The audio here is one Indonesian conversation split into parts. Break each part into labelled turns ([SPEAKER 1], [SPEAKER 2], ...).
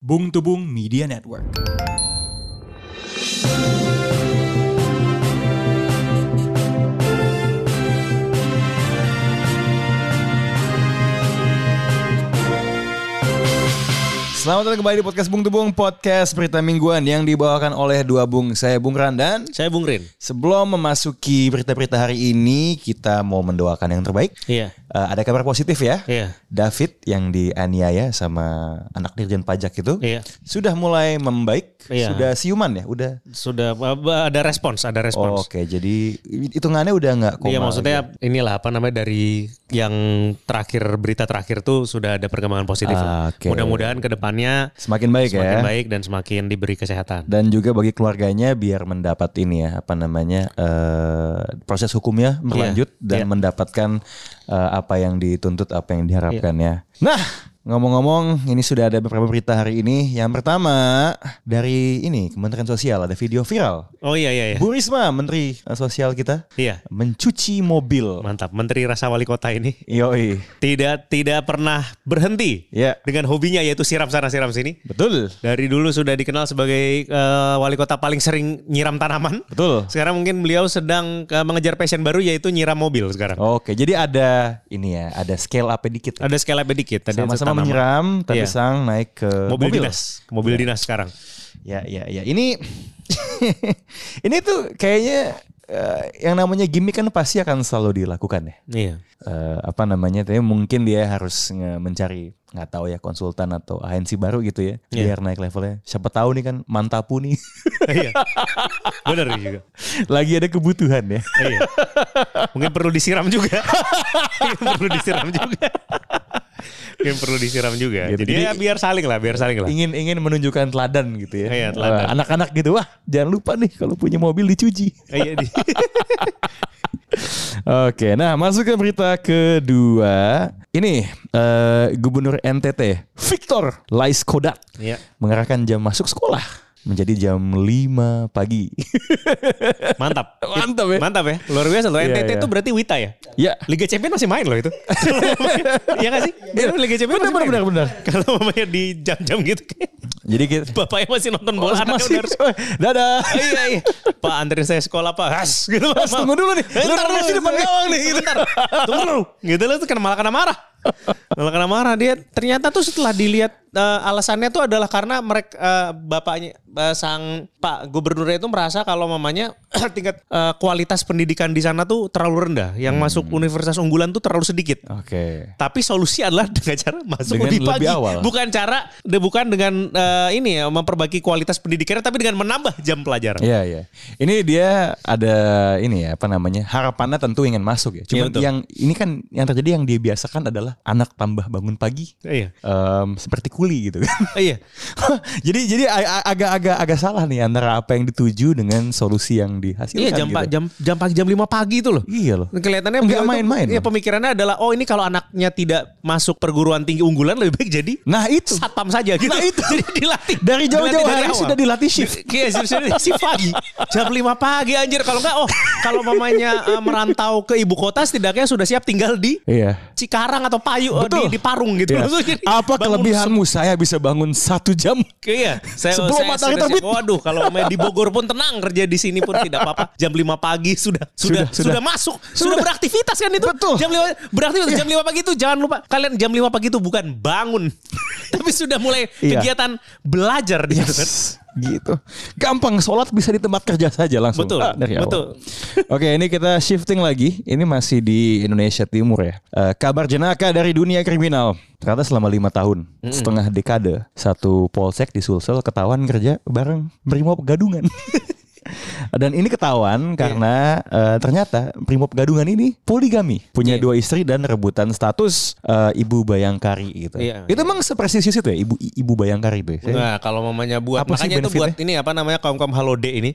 [SPEAKER 1] Bung Tubung Media Network.
[SPEAKER 2] Selamat datang kembali di podcast Bung Tubung, podcast berita mingguan yang dibawakan oleh dua bung. Saya Bung Ran dan
[SPEAKER 3] Saya Bung Rin.
[SPEAKER 2] sebelum memasuki berita-berita hari ini, kita mau mendoakan yang terbaik.
[SPEAKER 3] Iya.
[SPEAKER 2] Eh, ada kabar positif ya.
[SPEAKER 3] Iya.
[SPEAKER 2] David yang dianiaya sama anak dirjen pajak itu
[SPEAKER 3] Iya.
[SPEAKER 2] sudah mulai membaik,
[SPEAKER 3] Iya.
[SPEAKER 2] sudah siuman ya, udah.
[SPEAKER 3] Sudah ab- ada respons, ada respons.
[SPEAKER 2] Oke, jadi hitungannya udah nggak Oh, koma.
[SPEAKER 3] Iya maksudnya inilah apa namanya dari yang terakhir berita terakhir tuh sudah ada perkembangan positif.
[SPEAKER 2] Ah, oke.
[SPEAKER 3] Mudah-mudahan kedepannya
[SPEAKER 2] semakin baik
[SPEAKER 3] semakin
[SPEAKER 2] ya.
[SPEAKER 3] baik dan semakin diberi kesehatan.
[SPEAKER 2] Dan juga bagi keluarganya biar mendapat ini ya apa namanya eh, proses hukumnya
[SPEAKER 3] Iya.
[SPEAKER 2] berlanjut dan mendapatkan eh, apa yang dituntut apa yang diharapkan
[SPEAKER 3] Iya.
[SPEAKER 2] ya. Nah ngomong-ngomong ini sudah ada beberapa berita hari ini. Yang pertama dari ini Kementerian Sosial ada video viral.
[SPEAKER 3] Oh iya iya iya.
[SPEAKER 2] Bu Risma Menteri eh, Sosial kita
[SPEAKER 3] Iya.
[SPEAKER 2] mencuci mobil.
[SPEAKER 3] Mantap. Menteri Rasa Wali Kota ini
[SPEAKER 2] Yoi
[SPEAKER 3] tidak tidak pernah berhenti
[SPEAKER 2] ya
[SPEAKER 3] dengan hobinya yaitu siram sana siram sini.
[SPEAKER 2] betul
[SPEAKER 3] Dari dulu sudah dikenal sebagai eh, wali kota paling sering nyiram tanaman.
[SPEAKER 2] betul.
[SPEAKER 3] Sekarang mungkin beliau sedang eh, mengejar passion baru yaitu nyiram mobil sekarang.
[SPEAKER 2] Oke jadi ada ini ya ada scale up dikit.
[SPEAKER 3] Ada skala dikit tadi
[SPEAKER 2] Sama-sama
[SPEAKER 3] tanaman.
[SPEAKER 2] menyiram tapi
[SPEAKER 3] Iya.
[SPEAKER 2] sang naik ke
[SPEAKER 3] mobil,
[SPEAKER 2] mobil.
[SPEAKER 3] dinas, ke mobil dinas sekarang.
[SPEAKER 2] Ya, ya, ya. Ini ini tuh kayaknya eh, yang namanya gimmick kan pasti akan selalu dilakukan ya.
[SPEAKER 3] Iya.
[SPEAKER 2] Eh, apa namanya? Tapi mungkin dia harus nge- mencari nggak tahu ya konsultan atau agensi baru gitu ya
[SPEAKER 3] Iya.
[SPEAKER 2] biar naik levelnya. Siapa tahu nih kan mantapu nih
[SPEAKER 3] Iya. Benar juga.
[SPEAKER 2] lagi ada kebutuhan ya.
[SPEAKER 3] Iya. Mungkin perlu disiram juga. Mungkin perlu disiram juga. Mungkin perlu disiram juga.
[SPEAKER 2] Gitu.
[SPEAKER 3] Jadi,
[SPEAKER 2] Jadi- Iya.
[SPEAKER 3] ya biar saling lah, biar saling lah.
[SPEAKER 2] Ingin ingin menunjukkan teladan gitu ya.
[SPEAKER 3] Iya, teladan.
[SPEAKER 2] Eh, Anak-anak gitu wah jangan lupa nih kalau punya mobil dicuci.
[SPEAKER 3] Iya, di-
[SPEAKER 2] Oke, nah masuk ke berita kedua. Ini eh, Gubernur NTT Victor Laiskodat
[SPEAKER 3] Iya.
[SPEAKER 2] mengarahkan jam masuk sekolah menjadi jam 5 pagi.
[SPEAKER 3] Mantap.
[SPEAKER 2] Mantap ya.
[SPEAKER 3] Mantap ya. Luar biasa loh.
[SPEAKER 2] Iya,
[SPEAKER 3] NTT itu
[SPEAKER 2] iya.
[SPEAKER 3] berarti Wita ya?
[SPEAKER 2] ya.
[SPEAKER 3] Liga Champion masih main loh itu. Iya gak sih? Dia Liga Champion
[SPEAKER 2] Benar,
[SPEAKER 3] masih main.
[SPEAKER 2] benar, benar.
[SPEAKER 3] Kalau mamanya di jam-jam gitu kayak
[SPEAKER 2] Jadi kita
[SPEAKER 3] bapaknya masih nonton bola, anaknya
[SPEAKER 2] masih-
[SPEAKER 3] udah harus
[SPEAKER 2] dadah.
[SPEAKER 3] iya iya. Pak anterin saya sekolah pak. Has gitu.
[SPEAKER 2] Mas, tunggu dulu nih. Lu
[SPEAKER 3] Bentar
[SPEAKER 2] nangis di depan gawang nih, gitu.
[SPEAKER 3] Bentar. Tunggu dulu. Gitu loh tuh kena malah kena marah. Malah kena marah dia. Ternyata tuh setelah dilihat eh, alasannya tuh adalah karena mereka eh, bapaknya eh, sang Pak Gubernurnya itu merasa kalau mamanya tingkat eh, kualitas pendidikan di sana tuh terlalu rendah. Yang masuk
[SPEAKER 2] Hmm.
[SPEAKER 3] universitas unggulan tuh terlalu sedikit.
[SPEAKER 2] Oke.
[SPEAKER 3] Tapi solusi adalah dengan cara masuk
[SPEAKER 2] Dengan
[SPEAKER 3] lebih pagi.
[SPEAKER 2] lebih awal.
[SPEAKER 3] Bukan cara, de, bukan dengan eh, ini ya memperbaiki kualitas pendidikannya, tapi dengan menambah jam pelajaran.
[SPEAKER 2] Iya, iya. Ini dia ada ini ya, apa namanya? Harapannya tentu ingin masuk ya. Cuman
[SPEAKER 3] Iya, betul.
[SPEAKER 2] yang ini kan yang terjadi yang dia biasakan adalah anak tambah bangun pagi.
[SPEAKER 3] Iya.
[SPEAKER 2] Em, seperti kuli gitu kan.
[SPEAKER 3] Iya.
[SPEAKER 2] jadi jadi a- a- agak-agak agak salah nih antara apa yang dituju dengan solusi yang dihasilkan.
[SPEAKER 3] Iya jam
[SPEAKER 2] gitu.
[SPEAKER 3] pa- jam jam pagi jam 5 pagi itu loh.
[SPEAKER 2] Iya loh.
[SPEAKER 3] Kelihatannya
[SPEAKER 2] Nggak
[SPEAKER 3] beliau itu-
[SPEAKER 2] main-main
[SPEAKER 3] Iya
[SPEAKER 2] loh.
[SPEAKER 3] pemikirannya adalah oh ini kalau anaknya tidak masuk perguruan tinggi unggulan lebih baik jadi
[SPEAKER 2] Nah itu
[SPEAKER 3] satpam saja gitu.
[SPEAKER 2] Nah, itu.
[SPEAKER 3] jadi dilatih
[SPEAKER 2] Dari jauh-jauh
[SPEAKER 3] Dilatih dari
[SPEAKER 2] hari
[SPEAKER 3] awal.
[SPEAKER 2] sudah dilatih shift.
[SPEAKER 3] Iya sudah sudah dilatih pagi. Jam 5 pagi anjir kalau enggak oh kalau mamanya eh, merantau ke ibu kota setidaknya sudah siap tinggal di
[SPEAKER 2] Iya.
[SPEAKER 3] Cikarang atau Payu eh,
[SPEAKER 2] Betul.
[SPEAKER 3] di, di Parung gitu.
[SPEAKER 2] Iya.
[SPEAKER 3] Maksudnya jadi
[SPEAKER 2] Apa
[SPEAKER 3] bangun
[SPEAKER 2] kelebihanmu? Saya bisa bangun satu jam.
[SPEAKER 3] Iya, saya,
[SPEAKER 2] Sebelum
[SPEAKER 3] saya
[SPEAKER 2] matahari
[SPEAKER 3] sudah
[SPEAKER 2] terbit.
[SPEAKER 3] siap. Waduh, kalau main di Bogor pun tenang kerja di sini pun tidak apa-apa. Jam 5 pagi sudah
[SPEAKER 2] Sudah,
[SPEAKER 3] sudah sudah,
[SPEAKER 2] sudah.
[SPEAKER 3] masuk, sudah,
[SPEAKER 2] Sudah.
[SPEAKER 3] beraktivitas kan itu.
[SPEAKER 2] Betul.
[SPEAKER 3] Jam 5 beraktivitas jam 5 pagi itu jangan lupa kalian jam 5 pagi itu bukan bangun. tapi sudah mulai
[SPEAKER 2] Iya.
[SPEAKER 3] kegiatan belajar di situ kan.
[SPEAKER 2] gitu. Gampang sholat bisa di tempat kerja saja langsung.
[SPEAKER 3] Betul,
[SPEAKER 2] Ah, dari awal.
[SPEAKER 3] betul.
[SPEAKER 2] Oke, ini kita shifting lagi. Ini masih di Indonesia Timur ya. Eh, kabar jenaka dari dunia kriminal. Ternyata selama lima tahun, setengah dekade, satu polsek di Sulsel ketahuan kerja bareng Brimob Gadungan. Dan ini
[SPEAKER 3] Iya.
[SPEAKER 2] ketahuan karena eh, ternyata Brimob Gadungan ini poligami, punya
[SPEAKER 3] Iya.
[SPEAKER 2] dua istri dan rebutan status eh, ibu bayangkari gitu.
[SPEAKER 3] Iya,
[SPEAKER 2] itu emang sepresisius itu ya, ibu ibu bayangkari itu. Ya? Saya-
[SPEAKER 3] Nah, kalau mamanya buat
[SPEAKER 2] Apa sih Hmm?
[SPEAKER 3] makanya itu buat ini apa namanya kaum-kaum halode ini.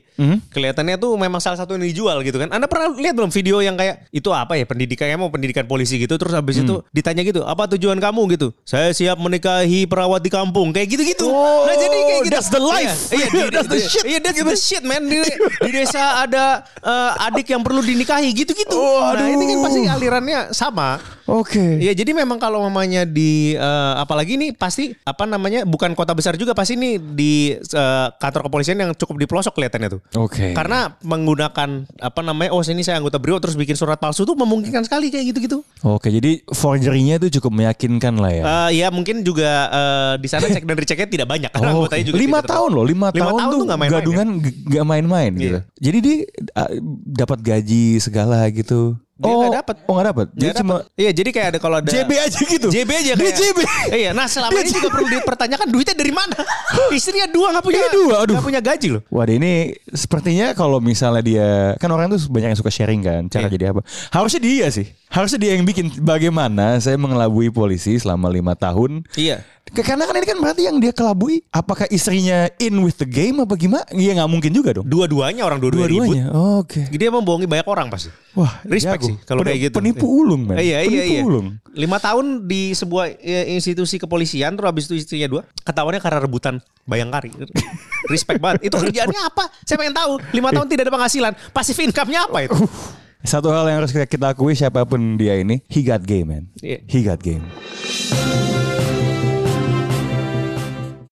[SPEAKER 3] Kelihatannya tuh memang salah satu yang dijual gitu kan. Anda pernah lihat belum video yang kayak itu apa ya pendidikan kayak mau pendidikan polisi gitu terus habis
[SPEAKER 2] Hmm.
[SPEAKER 3] itu ditanya gitu, "Apa tujuan kamu?" gitu. "Saya siap menikahi perawat di kampung." Kayak gitu-gitu.
[SPEAKER 2] Oh,
[SPEAKER 3] nah, jadi kayak gitu.
[SPEAKER 2] that's the life.
[SPEAKER 3] Iya, iya, di-
[SPEAKER 2] That's the
[SPEAKER 3] di-
[SPEAKER 2] shit.
[SPEAKER 3] Iya, that's the shit, man. Di, di desa ada eh, adik yang perlu dinikahi gitu-gitu.
[SPEAKER 2] Oh,
[SPEAKER 3] nah, ini kan
[SPEAKER 2] aduh.
[SPEAKER 3] pasti alirannya sama.
[SPEAKER 2] Oke.
[SPEAKER 3] Ya jadi memang kalau mamanya di eh, apalagi ini pasti apa namanya bukan kota besar juga pasti ini di eh, kantor kepolisian yang cukup di pelosok kelihatannya tuh.
[SPEAKER 2] Oke.
[SPEAKER 3] Karena menggunakan apa namanya oh ini saya anggota Brio terus bikin surat palsu tuh memungkinkan sekali kayak gitu-gitu.
[SPEAKER 2] Oke, jadi forgery-nya itu cukup meyakinkan lah ya.
[SPEAKER 3] Eh, ya mungkin juga eh, di sana cek dan rechecknya tidak banyak karena
[SPEAKER 2] Oh,
[SPEAKER 3] anggotanya
[SPEAKER 2] oke.
[SPEAKER 3] juga
[SPEAKER 2] lima
[SPEAKER 3] tidak terlalu-
[SPEAKER 2] tahun loh, lima,
[SPEAKER 3] Lima
[SPEAKER 2] tahun,
[SPEAKER 3] tahun
[SPEAKER 2] tuh
[SPEAKER 3] tuh nggak main-main Iya. ya?
[SPEAKER 2] gadungan g- nggak main-main gitu. Jadi dia ah, dapat gaji segala gitu.
[SPEAKER 3] Dia
[SPEAKER 2] oh,
[SPEAKER 3] nggak dapat.
[SPEAKER 2] Oh nggak dapat. Dia
[SPEAKER 3] Nggak
[SPEAKER 2] cuma
[SPEAKER 3] dapet. Iya jadi kayak ada kalau ada
[SPEAKER 2] JB aja gitu.
[SPEAKER 3] JB aja
[SPEAKER 2] Dia
[SPEAKER 3] kayak.
[SPEAKER 2] JB.
[SPEAKER 3] Iya, nah selama ini juga perlu dipertanyakan duitnya dari mana. Istrinya dua nggak punya
[SPEAKER 2] Iya, dua, aduh.
[SPEAKER 3] nggak punya gaji loh.
[SPEAKER 2] Waduh ini sepertinya kalau misalnya dia kan orang tuh banyak yang suka sharing kan
[SPEAKER 3] Iya.
[SPEAKER 2] cara jadi apa. Harusnya dia sih. Harusnya dia yang bikin bagaimana saya mengelabui polisi selama lima tahun.
[SPEAKER 3] Iya.
[SPEAKER 2] Ke- Karena kan ini kan berarti yang dia kelabui apakah istrinya in with the game apa gimana? Iya nggak mungkin juga dong.
[SPEAKER 3] Dua-duanya orang dua-duanya ribut.
[SPEAKER 2] Dua-duanya. Oke.
[SPEAKER 3] Jadi dia membohongi banyak orang pasti.
[SPEAKER 2] Iya. Wah,
[SPEAKER 3] Respect
[SPEAKER 2] jago.
[SPEAKER 3] sih kalau
[SPEAKER 2] Pen-
[SPEAKER 3] kayak gitu.
[SPEAKER 2] Penipu ulung, man.
[SPEAKER 3] Iya,
[SPEAKER 2] penipu
[SPEAKER 3] iya, iya.
[SPEAKER 2] ulung.
[SPEAKER 3] Lima tahun di sebuah eh, institusi kepolisian, terus habis itu istrinya dua, ketahuannya karena rebutan bayangkari. Respect banget. Itu kerjaannya apa? Saya pengen tahu. Lima
[SPEAKER 2] Eh.
[SPEAKER 3] tahun tidak ada penghasilan. Pasif income-nya apa itu?
[SPEAKER 2] Satu hal yang harus kita, kita akui siapapun dia ini, he got game, man.
[SPEAKER 3] Iya.
[SPEAKER 2] He got game.